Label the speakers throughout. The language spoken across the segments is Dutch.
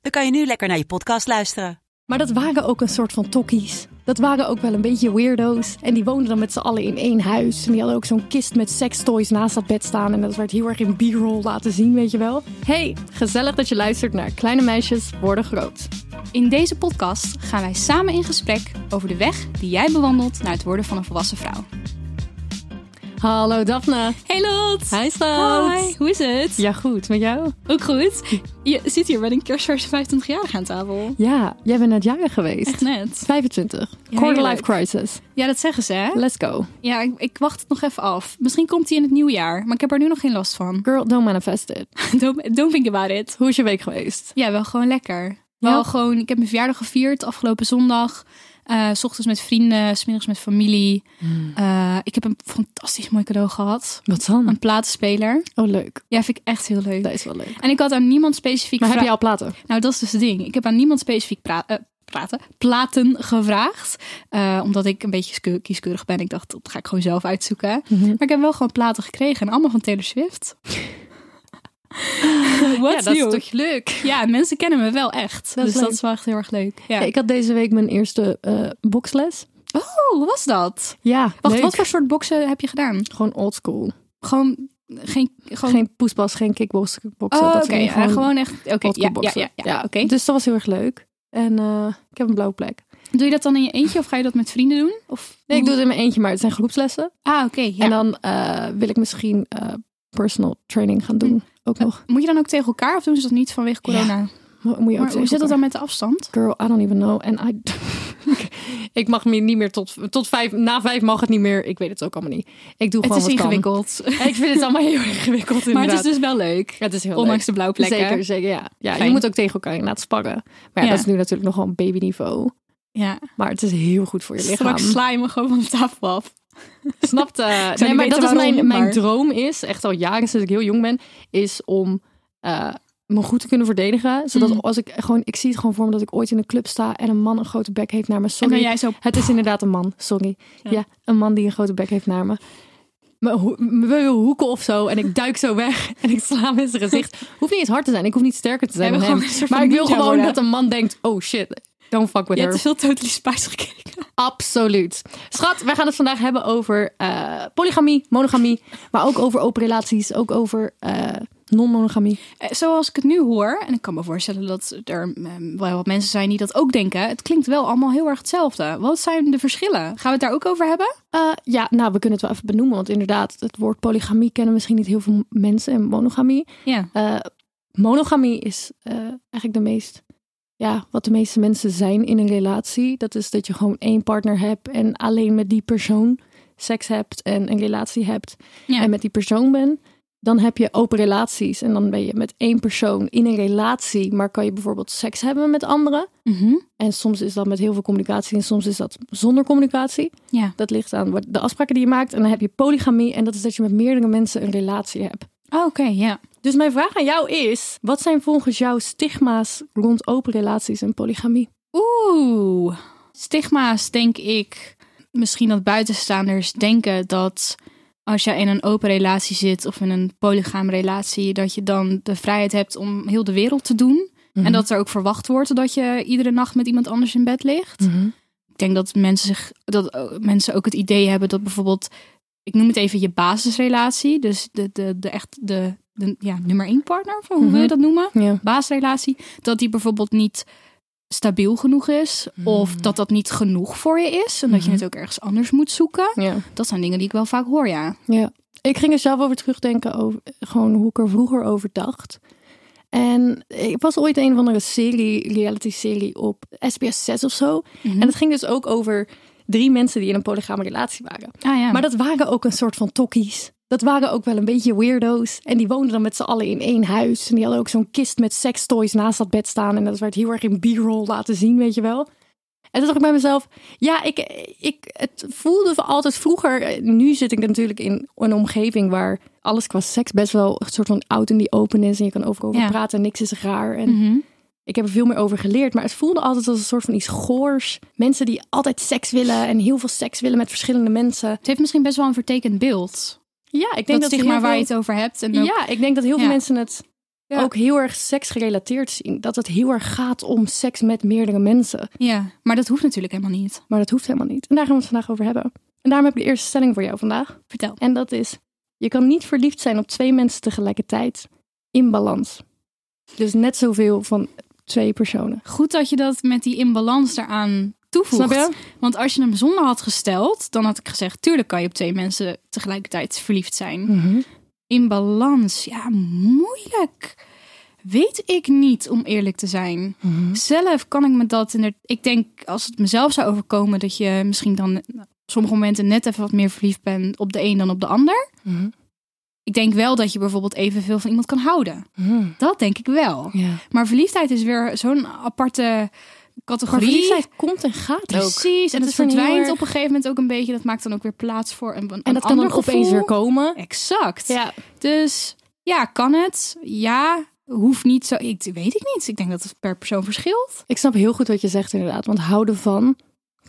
Speaker 1: dan kan je nu lekker naar je podcast luisteren.
Speaker 2: Maar dat waren ook een soort van tokkies. Dat waren ook wel een beetje weirdo's. En die woonden dan met z'n allen in één huis. En die hadden ook zo'n kist met sextoys naast dat bed staan. En dat werd heel erg in b-roll laten zien, weet je wel. Hey, gezellig dat je luistert naar Kleine Meisjes Worden Groot.
Speaker 3: In deze podcast gaan wij samen in gesprek over de weg die jij bewandelt naar het worden van een volwassen vrouw.
Speaker 2: Hallo Daphne.
Speaker 3: Hey Lot!
Speaker 2: Hi schat.
Speaker 3: Hi, hoe is het?
Speaker 2: Ja goed, met jou?
Speaker 3: Ook goed. Je zit hier met een kerstverse 25-jarige aan tafel.
Speaker 2: Ja, jij bent net jaren geweest.
Speaker 3: Echt net.
Speaker 2: 25. Quarter life crisis.
Speaker 3: Ja, dat zeggen ze hè?
Speaker 2: Let's go.
Speaker 3: Ja, ik, ik wacht het nog even af. Misschien komt hij in het nieuwe jaar, maar ik heb er nu nog geen last van.
Speaker 2: Girl, don't manifest it.
Speaker 3: Don't, don't think about it.
Speaker 2: Hoe is je week geweest?
Speaker 3: Ja, wel gewoon lekker. Wel
Speaker 2: Ja.
Speaker 3: gewoon, ik heb mijn verjaardag gevierd afgelopen zondag. Eh, s ochtends met vrienden, smiddags met familie. Eh, ik heb een fantastisch mooi cadeau gehad.
Speaker 2: Wat
Speaker 3: Een
Speaker 2: dan?
Speaker 3: platenspeler.
Speaker 2: Oh leuk.
Speaker 3: Ja, vind ik echt heel leuk.
Speaker 2: Dat is wel Hm. leuk.
Speaker 3: En ik had aan niemand specifiek...
Speaker 2: Maar heb
Speaker 3: vra-
Speaker 2: je al platen?
Speaker 3: Nou, dat is dus het ding. Ik heb aan niemand specifiek pra- eh, praten, platen gevraagd. Eh, omdat ik een beetje ske- kieskeurig ben. Ik dacht, dat ga ik gewoon zelf uitzoeken.
Speaker 2: Mhm.
Speaker 3: Maar ik heb wel gewoon platen gekregen. En allemaal van Taylor Swift. Wat
Speaker 2: ja, dat is toch leuk.
Speaker 3: Ja, mensen kennen me wel echt.
Speaker 2: Dat is
Speaker 3: dus dat
Speaker 2: leuk.
Speaker 3: is wel echt heel erg leuk. Ja.
Speaker 2: Ja, ik had deze week mijn eerste eh, boxles.
Speaker 3: Oh, hoe was dat?
Speaker 2: Ja,
Speaker 3: Wacht,
Speaker 2: leuk.
Speaker 3: wat voor soort boksen heb je gedaan?
Speaker 2: Gewoon oldschool.
Speaker 3: Gewoon geen... Gewoon...
Speaker 2: Geen poespas, geen kickboxen.
Speaker 3: Oh, oké.
Speaker 2: dat soort dingen.
Speaker 3: ja, gewoon echt... Oké, ja, ja,
Speaker 2: oldschool
Speaker 3: ja, ja,
Speaker 2: boksen.
Speaker 3: oké.
Speaker 2: Dus dat was heel erg leuk. En eh, ik heb een blauwe plek.
Speaker 3: Doe je dat dan in je eentje of ga je dat met vrienden doen? Of...
Speaker 2: Nee, ik doe het in mijn eentje, maar het zijn groepslessen.
Speaker 3: Ah, oké. ja.
Speaker 2: En dan eh, wil ik misschien eh, personal training gaan doen.
Speaker 3: Hm.
Speaker 2: Ook nog.
Speaker 3: Moet je dan ook tegen elkaar of doen ze dat niet vanwege corona?
Speaker 2: Mo- Moet je ook
Speaker 3: maar hoe
Speaker 2: tegen
Speaker 3: zit dat
Speaker 2: elkaar.
Speaker 3: dan met de afstand?
Speaker 2: Girl, I don't even know. En I... ik mag me niet meer tot, tot vijf... Na vijf mag het niet meer. Ik weet het ook allemaal niet. Ik doe
Speaker 3: Het
Speaker 2: gewoon
Speaker 3: is
Speaker 2: wat kan.
Speaker 3: ingewikkeld.
Speaker 2: Ik vind het allemaal heel ingewikkeld
Speaker 3: maar het is
Speaker 2: inderdaad.
Speaker 3: dus wel leuk.
Speaker 2: het is heel
Speaker 3: Ondanks
Speaker 2: leuk.
Speaker 3: de blauwe plekken.
Speaker 2: Zeker, zeker, ja. ja je
Speaker 3: Fijn.
Speaker 2: moet ook tegen elkaar inderdaad sparren. Maar ja,
Speaker 3: Ja.
Speaker 2: dat is nu natuurlijk nogal een babyniveau.
Speaker 3: Ja.
Speaker 2: Maar het is heel goed voor je lichaam.
Speaker 3: Straks sla je me gewoon van de tafel af.
Speaker 2: Snapt? eh,
Speaker 3: niet
Speaker 2: nee, maar
Speaker 3: weten
Speaker 2: dat is
Speaker 3: waarom,
Speaker 2: mijn, mijn
Speaker 3: maar-
Speaker 2: droom is, echt al jaren sinds ik heel jong ben, is om eh, me goed te kunnen verdedigen. Zodat
Speaker 3: Mm.
Speaker 2: als ik gewoon, ik zie het gewoon voor me dat ik ooit in een club sta en een man een grote bek heeft naar me.
Speaker 3: En dan
Speaker 2: Sorry,
Speaker 3: jij zo...
Speaker 2: het is inderdaad een man, sorry. Ja. een man die een grote bek heeft naar me. Maar ho- me wil hoeken of zo. En ik duik zo weg. En ik sla hem in zijn gezicht. Hoeft niet eens hard te zijn. Ik hoef niet sterker te zijn
Speaker 3: Jij
Speaker 2: dan
Speaker 3: wil
Speaker 2: hem.
Speaker 3: gewoon een soort
Speaker 2: Maar
Speaker 3: van
Speaker 2: ik wil
Speaker 3: ninja
Speaker 2: gewoon
Speaker 3: worden.
Speaker 2: dat een man denkt... Oh shit, don't fuck with
Speaker 3: Je
Speaker 2: her.
Speaker 3: hebt te veel dus Totally Spice gekeken.
Speaker 2: Absoluut. Schat, wij gaan het vandaag hebben over eh, polygamie, monogamie. Maar ook over open relaties. Ook over eh, non-monogamie.
Speaker 3: Eh, Zoals ik het nu hoor, en ik kan me voorstellen dat er eh, wel wat mensen zijn die dat ook denken. Het klinkt wel allemaal heel erg hetzelfde. Wat zijn de verschillen? Gaan we het daar ook over hebben?
Speaker 2: Eh, ja, nou, we kunnen het wel even benoemen. Want inderdaad, het woord polygamie kennen misschien niet heel veel mensen. En monogamie.
Speaker 3: Ja.
Speaker 2: Eh, monogamie is eh, eigenlijk de meest, ja, wat de meeste mensen zijn in een relatie. Dat is dat je gewoon één partner hebt en alleen met die persoon seks hebt en een relatie hebt
Speaker 3: Ja.
Speaker 2: en met die persoon bent. Dan heb je open relaties en dan ben je met één persoon in een relatie, maar kan je bijvoorbeeld seks hebben met anderen.
Speaker 3: Mhm.
Speaker 2: En soms is dat met heel veel communicatie en soms is dat zonder communicatie.
Speaker 3: ja.
Speaker 2: Dat ligt aan wat- de afspraken die je maakt. En dan heb je polygamie en dat is dat je met meerdere mensen een relatie hebt.
Speaker 3: Oh, oké, ja.
Speaker 2: Dus mijn vraag aan jou is: wat zijn volgens jou stigma's rond open relaties en polygamie?
Speaker 3: Oeh. Stigma's, denk ik. Misschien dat buitenstaanders denken dat als je in een open relatie zit of in een polygaam relatie, dat je dan de vrijheid hebt om heel de wereld te doen. En dat er ook verwacht wordt dat je iedere nacht met iemand anders in bed ligt.
Speaker 2: Mhm.
Speaker 3: Ik denk dat mensen, zich, dat eh, mensen ook het idee hebben dat bijvoorbeeld, ik noem het even je basisrelatie, dus de, de, de echt de, de ja, nummer één partner, of hoe wil
Speaker 2: Mhm.
Speaker 3: je dat noemen?
Speaker 2: Ja.
Speaker 3: baasrelatie, dat die bijvoorbeeld niet stabiel genoeg is.
Speaker 2: Mm.
Speaker 3: Of dat dat niet genoeg voor je is. En dat
Speaker 2: Mm-hmm.
Speaker 3: je het ook ergens anders moet zoeken.
Speaker 2: ja.
Speaker 3: Dat zijn dingen die ik wel vaak hoor, ja.
Speaker 2: Ja, ik ging er zelf over terugdenken, over, gewoon hoe ik er vroeger over dacht. En ik was ooit een van de serie, reality serie op SBS 6 of zo. En het ging dus ook over drie mensen die in een polygame relatie waren.
Speaker 3: Ah ja.
Speaker 2: Maar dat waren ook een soort van tokkies. Dat waren ook wel een beetje weirdo's. En die woonden dan met z'n allen in één huis. En die hadden ook zo'n kist met sextoys naast dat bed staan. En dat werd heel erg in b-roll laten zien, weet je wel. En toen dacht ik bij mezelf, ja, ik, ik, het voelde altijd vroeger. eh, Nu zit ik natuurlijk in een omgeving waar alles qua seks best wel een soort van out in die open is. En je kan overal over
Speaker 3: Ja.
Speaker 2: praten en niks is raar. En
Speaker 3: Mhm.
Speaker 2: ik heb er veel meer over geleerd. Maar het voelde altijd als een soort van iets goors. Mensen die altijd seks willen en heel veel seks willen met verschillende mensen.
Speaker 3: Het heeft misschien best wel een vertekend beeld.
Speaker 2: Ja, ik denk
Speaker 3: Dat,
Speaker 2: dat
Speaker 3: stigma
Speaker 2: heel
Speaker 3: waar je
Speaker 2: veel-
Speaker 3: het over hebt. En ook-
Speaker 2: Ja, ik denk dat heel veel
Speaker 3: Ja.
Speaker 2: mensen het
Speaker 3: Ja.
Speaker 2: ook heel erg seksgerelateerd zien. Dat het heel erg gaat om seks met meerdere mensen.
Speaker 3: ja, maar dat hoeft natuurlijk helemaal niet.
Speaker 2: Maar dat hoeft helemaal niet. En daar gaan we het vandaag over hebben. En daarom heb ik de eerste stelling voor jou vandaag.
Speaker 3: Vertel.
Speaker 2: En dat is, je kan niet verliefd zijn op twee mensen tegelijkertijd in balans. Dus net zoveel van twee personen.
Speaker 3: Goed dat je dat met die imbalans eraan toevoegt.
Speaker 2: Snap je?
Speaker 3: Want als je hem zonder had gesteld, dan had ik gezegd... tuurlijk kan je op twee mensen tegelijkertijd verliefd
Speaker 2: Mm.
Speaker 3: zijn. In balans, ja, moeilijk. Weet ik niet, om eerlijk te zijn.
Speaker 2: Mhm.
Speaker 3: Zelf kan ik me dat... In ik denk, als het mezelf zou overkomen... dat je misschien dan op sommige momenten net even wat meer verliefd bent... op de een dan op de ander.
Speaker 2: Mhm.
Speaker 3: Ik denk wel dat je bijvoorbeeld evenveel van iemand kan houden.
Speaker 2: Mhm.
Speaker 3: Dat denk ik wel.
Speaker 2: Ja.
Speaker 3: Maar verliefdheid is weer zo'n aparte
Speaker 2: Maar
Speaker 3: categorie.
Speaker 2: verliefdheid komt en gaat ook.
Speaker 3: Precies, en
Speaker 2: Dat
Speaker 3: het
Speaker 2: is dan heel
Speaker 3: verdwijnt
Speaker 2: erg-
Speaker 3: op een gegeven moment ook een beetje. Dat maakt dan ook weer plaats voor een, een
Speaker 2: En dat kan
Speaker 3: ander
Speaker 2: dan opeens
Speaker 3: gevoel.
Speaker 2: weer komen.
Speaker 3: Exact.
Speaker 2: Ja.
Speaker 3: Dus ja, kan het? Ja, hoeft niet zo. Ik weet ik niet. Ik denk dat het per persoon verschilt.
Speaker 2: Ik snap heel goed wat je zegt inderdaad. Want houden van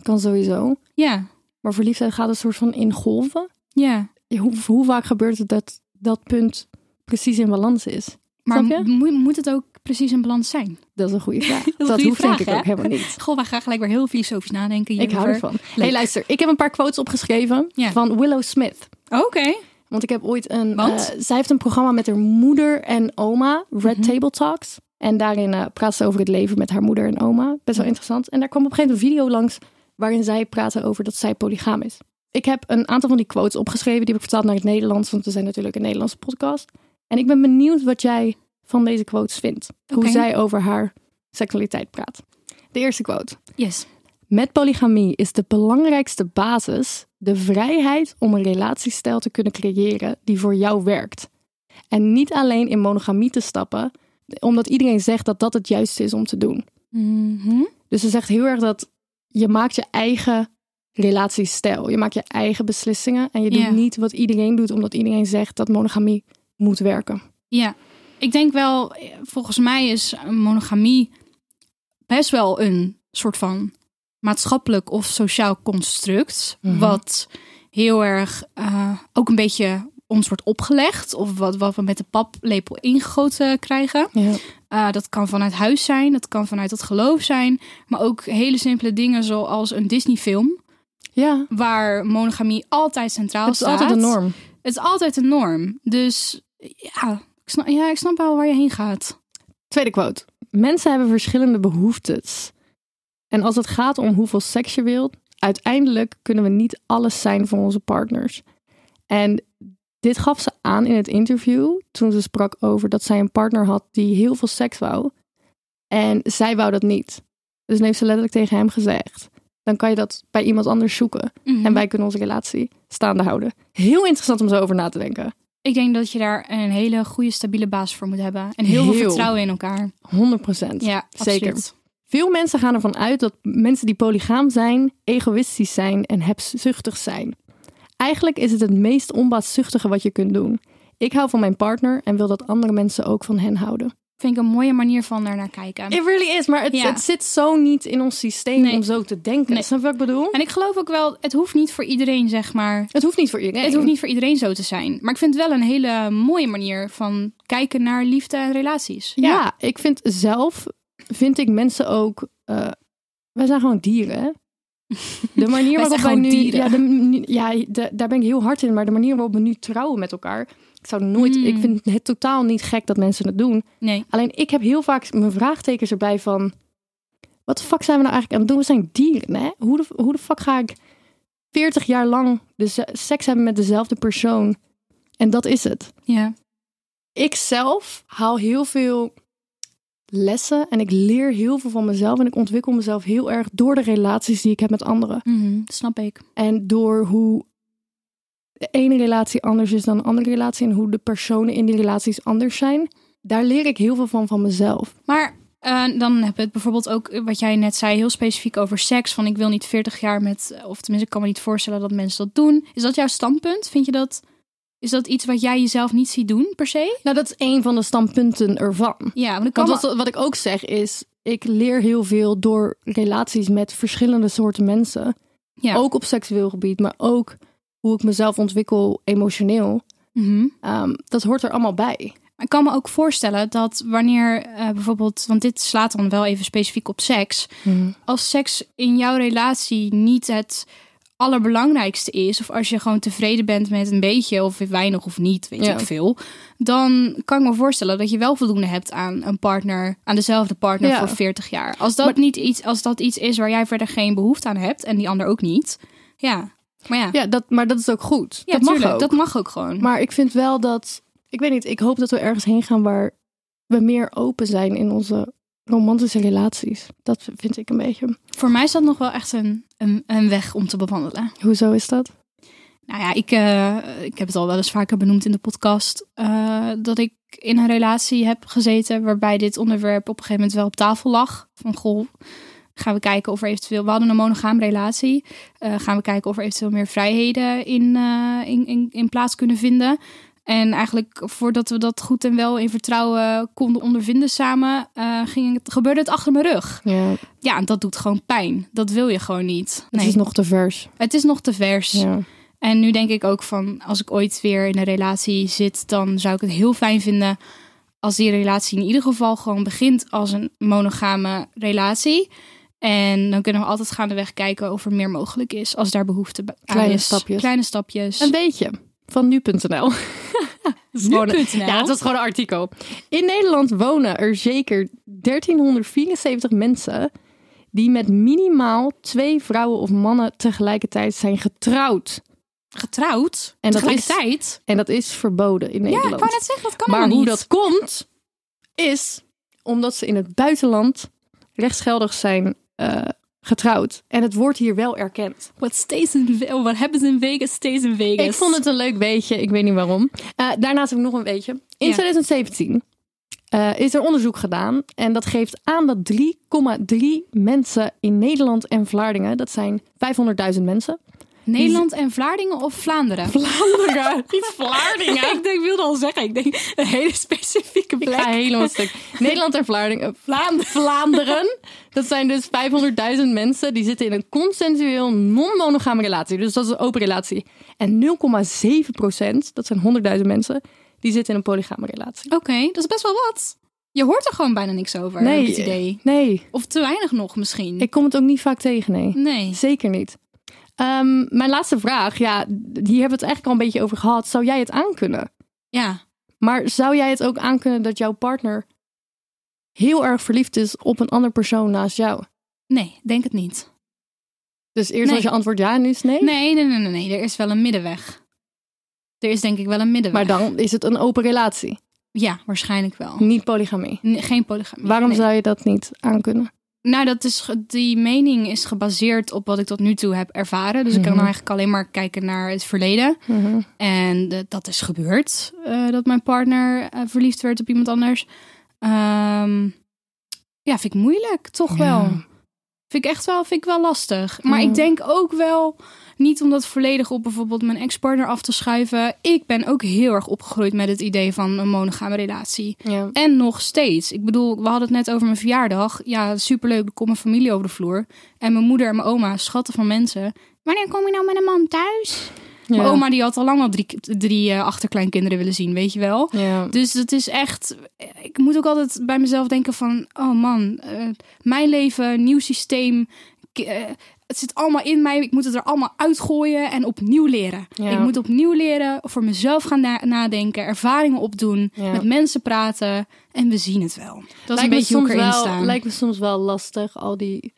Speaker 2: kan sowieso.
Speaker 3: Ja,
Speaker 2: Maar verliefdheid gaat een soort van in golven.
Speaker 3: ja.
Speaker 2: Hoe, hoe vaak gebeurt het dat dat punt precies in balans is?
Speaker 3: Maar
Speaker 2: Snap je?
Speaker 3: mo- moet het ook precies in balans zijn?
Speaker 2: Dat is een goede vraag. dat
Speaker 3: een goede
Speaker 2: hoeft
Speaker 3: vraag,
Speaker 2: denk ik
Speaker 3: hè?
Speaker 2: ook helemaal niet.
Speaker 3: Goh, wij gaan gelijk weer heel filosofisch nadenken
Speaker 2: Ik
Speaker 3: hierover.
Speaker 2: hou ervan. Hey, luister, ik heb een paar quotes opgeschreven
Speaker 3: Ja.
Speaker 2: van Willow Smith.
Speaker 3: Oké.
Speaker 2: Want ik heb ooit een.
Speaker 3: Want? Mhm.
Speaker 2: eh, zij heeft een programma met haar moeder en oma, Red Table Talks. En daarin eh, praat ze over het leven met haar moeder en oma. Best
Speaker 3: Mhm.
Speaker 2: wel interessant. En daar kwam op een gegeven moment een video langs waarin zij praten over dat zij polygaam is. Ik heb een aantal van die quotes opgeschreven, die heb ik vertaald naar het Nederlands, want we zijn natuurlijk een Nederlandse podcast. En ik ben benieuwd wat jij van deze quotes vindt.
Speaker 3: Oké.
Speaker 2: Hoe zij over haar seksualiteit praat. De eerste quote.
Speaker 3: Yes.
Speaker 2: Met polygamie is de belangrijkste basis de vrijheid om een relatiestijl te kunnen creëren die voor jou werkt. En niet alleen in monogamie te stappen, omdat iedereen zegt dat dat het juiste is om te doen.
Speaker 3: Mhm.
Speaker 2: Dus ze zegt heel erg dat je maakt je eigen relatiestijl. Je maakt je eigen beslissingen en je doet
Speaker 3: Ja.
Speaker 2: niet wat iedereen doet, omdat iedereen zegt dat monogamie moet werken.
Speaker 3: Ja, ik denk wel, eh, volgens mij is een monogamie best wel een soort van maatschappelijk of sociaal construct.
Speaker 2: Mhm.
Speaker 3: Wat heel erg eh, ook een beetje ons wordt opgelegd. Of wat, wat we met de paplepel ingegoten krijgen.
Speaker 2: Ja.
Speaker 3: Eh, dat kan vanuit huis zijn, dat kan vanuit het geloof zijn. Maar ook hele simpele dingen zoals een Disney-film.
Speaker 2: ja.
Speaker 3: Waar monogamie altijd centraal
Speaker 2: Het is
Speaker 3: staat.
Speaker 2: altijd de norm.
Speaker 3: Het is altijd een norm. Dus ja, ik snap, ja, ik snap wel waar je heen gaat.
Speaker 2: Tweede quote. Mensen hebben verschillende behoeftes. En als het gaat om hoeveel seks je wilt, uiteindelijk kunnen we niet alles zijn voor onze partners. En dit gaf ze aan in het interview toen ze sprak over dat zij een partner had die heel veel seks wou. En zij wou dat niet. Dus dan heeft ze letterlijk tegen hem gezegd. Dan kan je dat bij iemand anders zoeken. En wij kunnen onze relatie staande houden. Heel interessant om zo over na te denken.
Speaker 3: Ik denk dat je daar een hele goede, stabiele basis voor moet hebben. En heel, veel
Speaker 2: Heel.
Speaker 3: vertrouwen in elkaar.
Speaker 2: 100%.
Speaker 3: Ja,
Speaker 2: Zeker.
Speaker 3: absoluut.
Speaker 2: Veel mensen gaan ervan uit dat mensen die polygaam zijn, egoïstisch zijn en hebzuchtig zijn. Eigenlijk is het het meest onbaatzuchtige wat je kunt doen. Ik hou van mijn partner en wil dat andere mensen ook van hen houden.
Speaker 3: Vind ik een mooie manier van daarnaar kijken.
Speaker 2: It really is, maar het,
Speaker 3: Ja.
Speaker 2: het zit zo niet in ons systeem
Speaker 3: Nee.
Speaker 2: om zo te denken.
Speaker 3: Nee.
Speaker 2: Snap je wat ik bedoel?
Speaker 3: En ik geloof ook wel, het hoeft niet voor iedereen, zeg maar.
Speaker 2: Het hoeft niet voor iedereen.
Speaker 3: Het hoeft niet voor iedereen zo te zijn. Maar ik vind het wel een hele mooie manier van kijken naar liefde en relaties.
Speaker 2: Ja, ik vind zelf, vind ik mensen ook, eh, wij zijn gewoon dieren. hè? De manier
Speaker 3: Wij
Speaker 2: waarop
Speaker 3: zijn
Speaker 2: wij nu,
Speaker 3: gewoon dieren.
Speaker 2: ja, de manier- ja de- daar ben ik heel hard in, maar de manier waarop we nu trouwen met elkaar, ik zou nooit,
Speaker 3: Mm.
Speaker 2: ik vind het totaal niet gek dat mensen het doen.
Speaker 3: Nee.
Speaker 2: Alleen ik heb heel vaak mijn vraagtekens erbij van, wat de fuck zijn we nou eigenlijk aan het doen? We zijn dieren, hè? Hoe de, hoe de fuck ga ik 40 jaar lang de se- seks hebben met dezelfde persoon? En dat is het
Speaker 3: Ja.
Speaker 2: ik zelf haal heel veel lessen en ik leer heel veel van mezelf en ik ontwikkel mezelf heel erg door de relaties die ik heb met anderen
Speaker 3: Mhm, dat snap ik.
Speaker 2: en door hoe de ene relatie anders is dan de andere relatie en hoe de personen in die relaties anders zijn. Daar leer ik heel veel van van mezelf.
Speaker 3: Maar eh, dan hebben we het bijvoorbeeld ook, eh, wat jij net zei, heel specifiek over seks. Van ik wil niet 40 jaar met, eh, of tenminste, ik kan me niet voorstellen dat mensen dat doen. Is dat jouw standpunt? Vind je dat, is dat iets wat jij jezelf niet ziet doen, per se?
Speaker 2: Nou, dat is een van de standpunten ervan.
Speaker 3: Ja, want ik kan
Speaker 2: Want
Speaker 3: me-
Speaker 2: wat, wat ik ook zeg is, ik leer heel veel door relaties met verschillende soorten mensen.
Speaker 3: Ja.
Speaker 2: Ook op seksueel gebied, maar ook hoe ik mezelf ontwikkel emotioneel.
Speaker 3: Mhm.
Speaker 2: Ehm, dat hoort er allemaal bij.
Speaker 3: Maar Ik kan me ook voorstellen dat wanneer eh, bijvoorbeeld, want dit slaat dan wel even specifiek op seks.
Speaker 2: Mhm.
Speaker 3: Als seks in jouw relatie niet het allerbelangrijkste is, of als je gewoon tevreden bent met een beetje of weinig of niet, weet
Speaker 2: Ja.
Speaker 3: ik veel, dan kan ik me voorstellen dat je wel voldoende hebt aan een partner, aan dezelfde partner
Speaker 2: Ja.
Speaker 3: voor 40 jaar. Als dat
Speaker 2: Maar-
Speaker 3: niet iets, als dat iets is waar jij verder geen behoefte aan hebt en die ander ook niet, ja, maar ja,
Speaker 2: Ja, dat, maar dat is ook goed.
Speaker 3: Ja,
Speaker 2: dat mag
Speaker 3: tuurlijk,
Speaker 2: ook.
Speaker 3: dat mag ook gewoon.
Speaker 2: Maar ik vind wel dat, ik weet niet, ik hoop dat we ergens heen gaan waar we meer open zijn in onze romantische relaties. Dat vind ik een beetje.
Speaker 3: voor mij is dat nog wel echt een, een, een weg om te bewandelen.
Speaker 2: Hoezo is dat?
Speaker 3: Nou ja, ik, eh, ik heb het al wel eens vaker benoemd in de podcast. eh, dat ik in een relatie heb gezeten waarbij dit onderwerp op een gegeven moment wel op tafel lag. Van goh, gaan we kijken of er eventueel. We hadden een monogaam relatie. eh, gaan we kijken of er eventueel meer vrijheden in, eh, in, in, in plaats kunnen vinden. En eigenlijk voordat we dat goed en wel in vertrouwen konden ondervinden samen, eh, ging het, gebeurde het achter mijn rug.
Speaker 2: Ja, het
Speaker 3: Ja, en dat doet gewoon pijn. Dat wil je gewoon niet.
Speaker 2: is nog te vers.
Speaker 3: het is nog te vers.
Speaker 2: Ja.
Speaker 3: En nu denk ik ook van, als ik ooit weer in een relatie zit, dan zou ik het heel fijn vinden als die relatie in ieder geval gewoon begint als een monogame relatie. En dan kunnen we altijd gaandeweg kijken of er meer mogelijk is, als daar behoefte bij- aan
Speaker 2: Kleine
Speaker 3: is.
Speaker 2: stapjes.
Speaker 3: Kleine stapjes.
Speaker 2: Een beetje. Van nu.nl.
Speaker 3: Nu.nl?
Speaker 2: Ja, het was gewoon een artikel. In Nederland wonen er zeker 1374 mensen die met minimaal twee vrouwen of mannen tegelijkertijd zijn getrouwd.
Speaker 3: Getrouwd?
Speaker 2: En dat is-
Speaker 3: tegelijkertijd?
Speaker 2: En dat is verboden in
Speaker 3: Ja,
Speaker 2: Nederland.
Speaker 3: ik wou net zeggen, dat kan
Speaker 2: maar
Speaker 3: helemaal
Speaker 2: hoe
Speaker 3: niet.
Speaker 2: dat komt, is omdat ze in het buitenland rechtsgeldig zijn eh, getrouwd. En het wordt hier wel erkend.
Speaker 3: Wat stays in, Ve- oh, wat hebben ze in Vegas, stays in Vegas.
Speaker 2: Ik vond het een leuk weetje, ik weet niet waarom. Eh, daarnaast heb ik nog een weetje. In
Speaker 3: Ja.
Speaker 2: 2017 eh, is er onderzoek gedaan en dat geeft aan dat 3,3 mensen in Nederland en Vlaardingen, dat zijn 500.000 mensen.
Speaker 3: Nederland en Vlaardingen of Vlaanderen?
Speaker 2: Vlaanderen, niet
Speaker 3: Vlaardingen? ik, denk, ik wilde al zeggen, ik denk een hele specifieke
Speaker 2: Ik
Speaker 3: plek.
Speaker 2: ga helemaal stuk. Nederland en Vlaardingen. Vlaanderen. Vlaanderen. Dat zijn dus 500.000 mensen die zitten in een consensueel non-monogame relatie. Dus dat is een open relatie. En 0,7 procent, dat zijn 100.000 mensen, die zitten in een polygame relatie.
Speaker 3: Oké, dat is best wel wat. Je hoort er gewoon bijna niks over, heb ik het idee.
Speaker 2: Nee,
Speaker 3: Of te weinig nog misschien.
Speaker 2: ik kom het ook niet vaak tegen, nee.
Speaker 3: Nee.
Speaker 2: Zeker niet. Ehm, mijn laatste vraag, ja, d- hier hebben we het eigenlijk al een beetje over gehad. Zou jij het aankunnen?
Speaker 3: Ja.
Speaker 2: Maar zou jij het ook aankunnen dat jouw partner heel erg verliefd is op een ander persoon naast jou?
Speaker 3: Nee, denk het niet.
Speaker 2: Dus eerst
Speaker 3: Nee.
Speaker 2: als je antwoord ja en nu is nee?
Speaker 3: Nee, nee, nee, nee, nee. Er is wel een middenweg. Er is denk ik wel een middenweg.
Speaker 2: Maar dan is het een open relatie,
Speaker 3: Ja, waarschijnlijk wel.
Speaker 2: niet polygamie.
Speaker 3: Nee, geen polygamie.
Speaker 2: Waarom
Speaker 3: Nee.
Speaker 2: zou je dat niet aankunnen?
Speaker 3: Nou, dat is, ge- die mening is gebaseerd op wat ik tot nu toe heb ervaren. Dus ik kan
Speaker 2: Mhm.
Speaker 3: dan eigenlijk alleen maar kijken naar het verleden. En eh, dat is gebeurd. eh, dat mijn partner eh, verliefd werd op iemand anders. Ehm, ja, vind ik moeilijk, toch
Speaker 2: Ja. Mhm.
Speaker 3: wel. Vind ik echt wel, vind ik wel lastig. Maar
Speaker 2: Ja.
Speaker 3: ik denk ook wel, niet om dat volledig op bijvoorbeeld mijn ex-partner af te schuiven. Ik ben ook heel erg opgegroeid met het idee van een monogame relatie.
Speaker 2: Ja.
Speaker 3: En nog steeds. Ik bedoel, we hadden het net over mijn verjaardag. Ja, superleuk. Er komt mijn familie over de vloer. En mijn moeder en mijn oma, schatten van mensen. Wanneer kom je nou met een man thuis? Mijn
Speaker 2: Oh,
Speaker 3: oma die had al lang al drie, drie eh, achterkleinkinderen willen zien, weet je wel.
Speaker 2: Ja.
Speaker 3: Dus het is echt... Ik moet ook altijd bij mezelf denken van... Oh man, eh, mijn leven, nieuw systeem. k- eh, het zit allemaal in mij. Ik moet het er allemaal uitgooien en opnieuw leren.
Speaker 2: Ja.
Speaker 3: Ik moet opnieuw leren, voor mezelf gaan na- nadenken. Ervaringen opdoen,
Speaker 2: Ja.
Speaker 3: met mensen praten. En we zien het wel. Dat is een
Speaker 2: me
Speaker 3: beetje hoe ik
Speaker 2: soms
Speaker 3: erin
Speaker 2: wel-
Speaker 3: sta.
Speaker 2: Lijkt me soms wel lastig, al die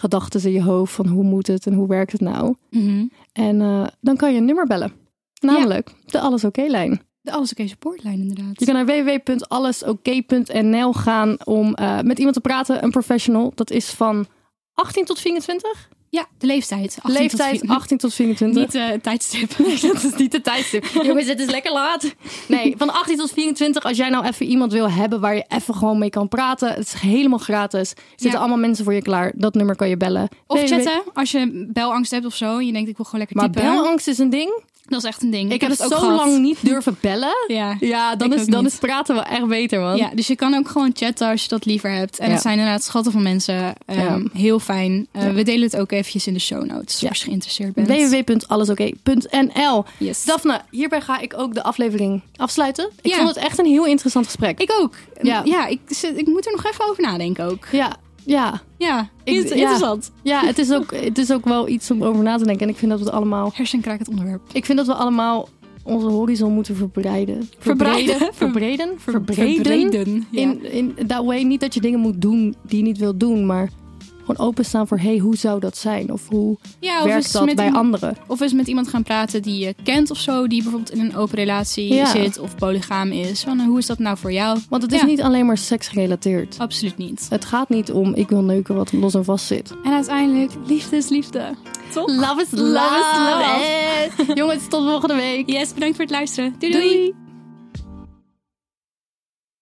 Speaker 2: gedachten in je hoofd van hoe moet het en hoe werkt het nou?
Speaker 3: Mhm.
Speaker 2: En eh, dan kan je een nummer bellen. Namelijk de Alles Oké-lijn.
Speaker 3: De Alles Oké supportlijn inderdaad.
Speaker 2: Je kan naar www.allesoké.nl gaan om eh, met iemand te praten, een professional. Dat is van 18 tot 24.
Speaker 3: Ja, de leeftijd. 18
Speaker 2: Leeftijd
Speaker 3: tot
Speaker 2: 18 tot 24.
Speaker 3: Niet eh, tijdstip.
Speaker 2: Nee, dat is niet de tijdstip. Jongens, het is lekker laat. Nee, van 18 tot 24, als jij nou even iemand wil hebben waar je even gewoon mee kan praten. Het is helemaal gratis. Er zitten
Speaker 3: Ja.
Speaker 2: allemaal mensen voor je klaar. Dat nummer kan je bellen.
Speaker 3: Of
Speaker 2: Nee,
Speaker 3: chatten, als je belangst hebt of zo. En je denkt, ik wil gewoon lekker
Speaker 2: Maar
Speaker 3: typen.
Speaker 2: belangst is een ding.
Speaker 3: Dat is echt een ding.
Speaker 2: Ik, heb
Speaker 3: het
Speaker 2: zo
Speaker 3: ook gehad.
Speaker 2: lang niet durven bellen.
Speaker 3: Ja.
Speaker 2: Ja, dan,
Speaker 3: Ik
Speaker 2: is,
Speaker 3: ook
Speaker 2: dan
Speaker 3: niet.
Speaker 2: is praten wel echt beter, man.
Speaker 3: ja, dus je kan ook gewoon chatten als je dat liever hebt. En
Speaker 2: Ja.
Speaker 3: het zijn inderdaad schatten van mensen. Ehm,
Speaker 2: Ja.
Speaker 3: Heel fijn. Eh,
Speaker 2: Ja.
Speaker 3: We delen het ook eventjes in de show notes.
Speaker 2: Ja.
Speaker 3: Als je geïnteresseerd bent.
Speaker 2: www.allesoké.nl
Speaker 3: Yes.
Speaker 2: Daphne, hierbij ga ik ook de aflevering afsluiten. Ik
Speaker 3: Ja.
Speaker 2: vond het echt een heel interessant gesprek.
Speaker 3: Ik ook.
Speaker 2: Ja.
Speaker 3: Ja, ik, zit- ik moet er nog even over nadenken ook.
Speaker 2: ja, ja.
Speaker 3: Ja,
Speaker 2: Ik-
Speaker 3: inter-
Speaker 2: ja.
Speaker 3: interessant.
Speaker 2: Ja, het is, ook, het is ook wel iets om over na te denken. En ik vind dat we het allemaal
Speaker 3: Hersenkraakend onderwerp.
Speaker 2: Ik vind dat we allemaal onze horizon moeten verbreiden.
Speaker 3: Verbreiden.
Speaker 2: Verbreden. Verbreden.
Speaker 3: Verbreden. Ja.
Speaker 2: In, in that way. Niet dat je dingen moet doen die je niet wilt doen, maar gewoon openstaan voor hey, hoe zou dat zijn? Of hoe
Speaker 3: ja, of
Speaker 2: werkt
Speaker 3: eens
Speaker 2: dat
Speaker 3: met
Speaker 2: bij
Speaker 3: iemand-
Speaker 2: anderen?
Speaker 3: Of eens met iemand gaan praten die je kent of zo. Die bijvoorbeeld in een open relatie
Speaker 2: Ja.
Speaker 3: zit of polygaam is. Van, hoe is dat nou voor jou?
Speaker 2: Want het is
Speaker 3: Ja.
Speaker 2: niet alleen maar seksgerelateerd.
Speaker 3: Absoluut niet.
Speaker 2: Het gaat niet om ik wil neuken wat los en vast zit.
Speaker 3: En uiteindelijk, liefde is liefde. Toch?
Speaker 2: Love is
Speaker 3: love.
Speaker 2: Jongens, tot volgende week.
Speaker 3: Yes, bedankt voor het luisteren. Doei! doei.
Speaker 2: Doei.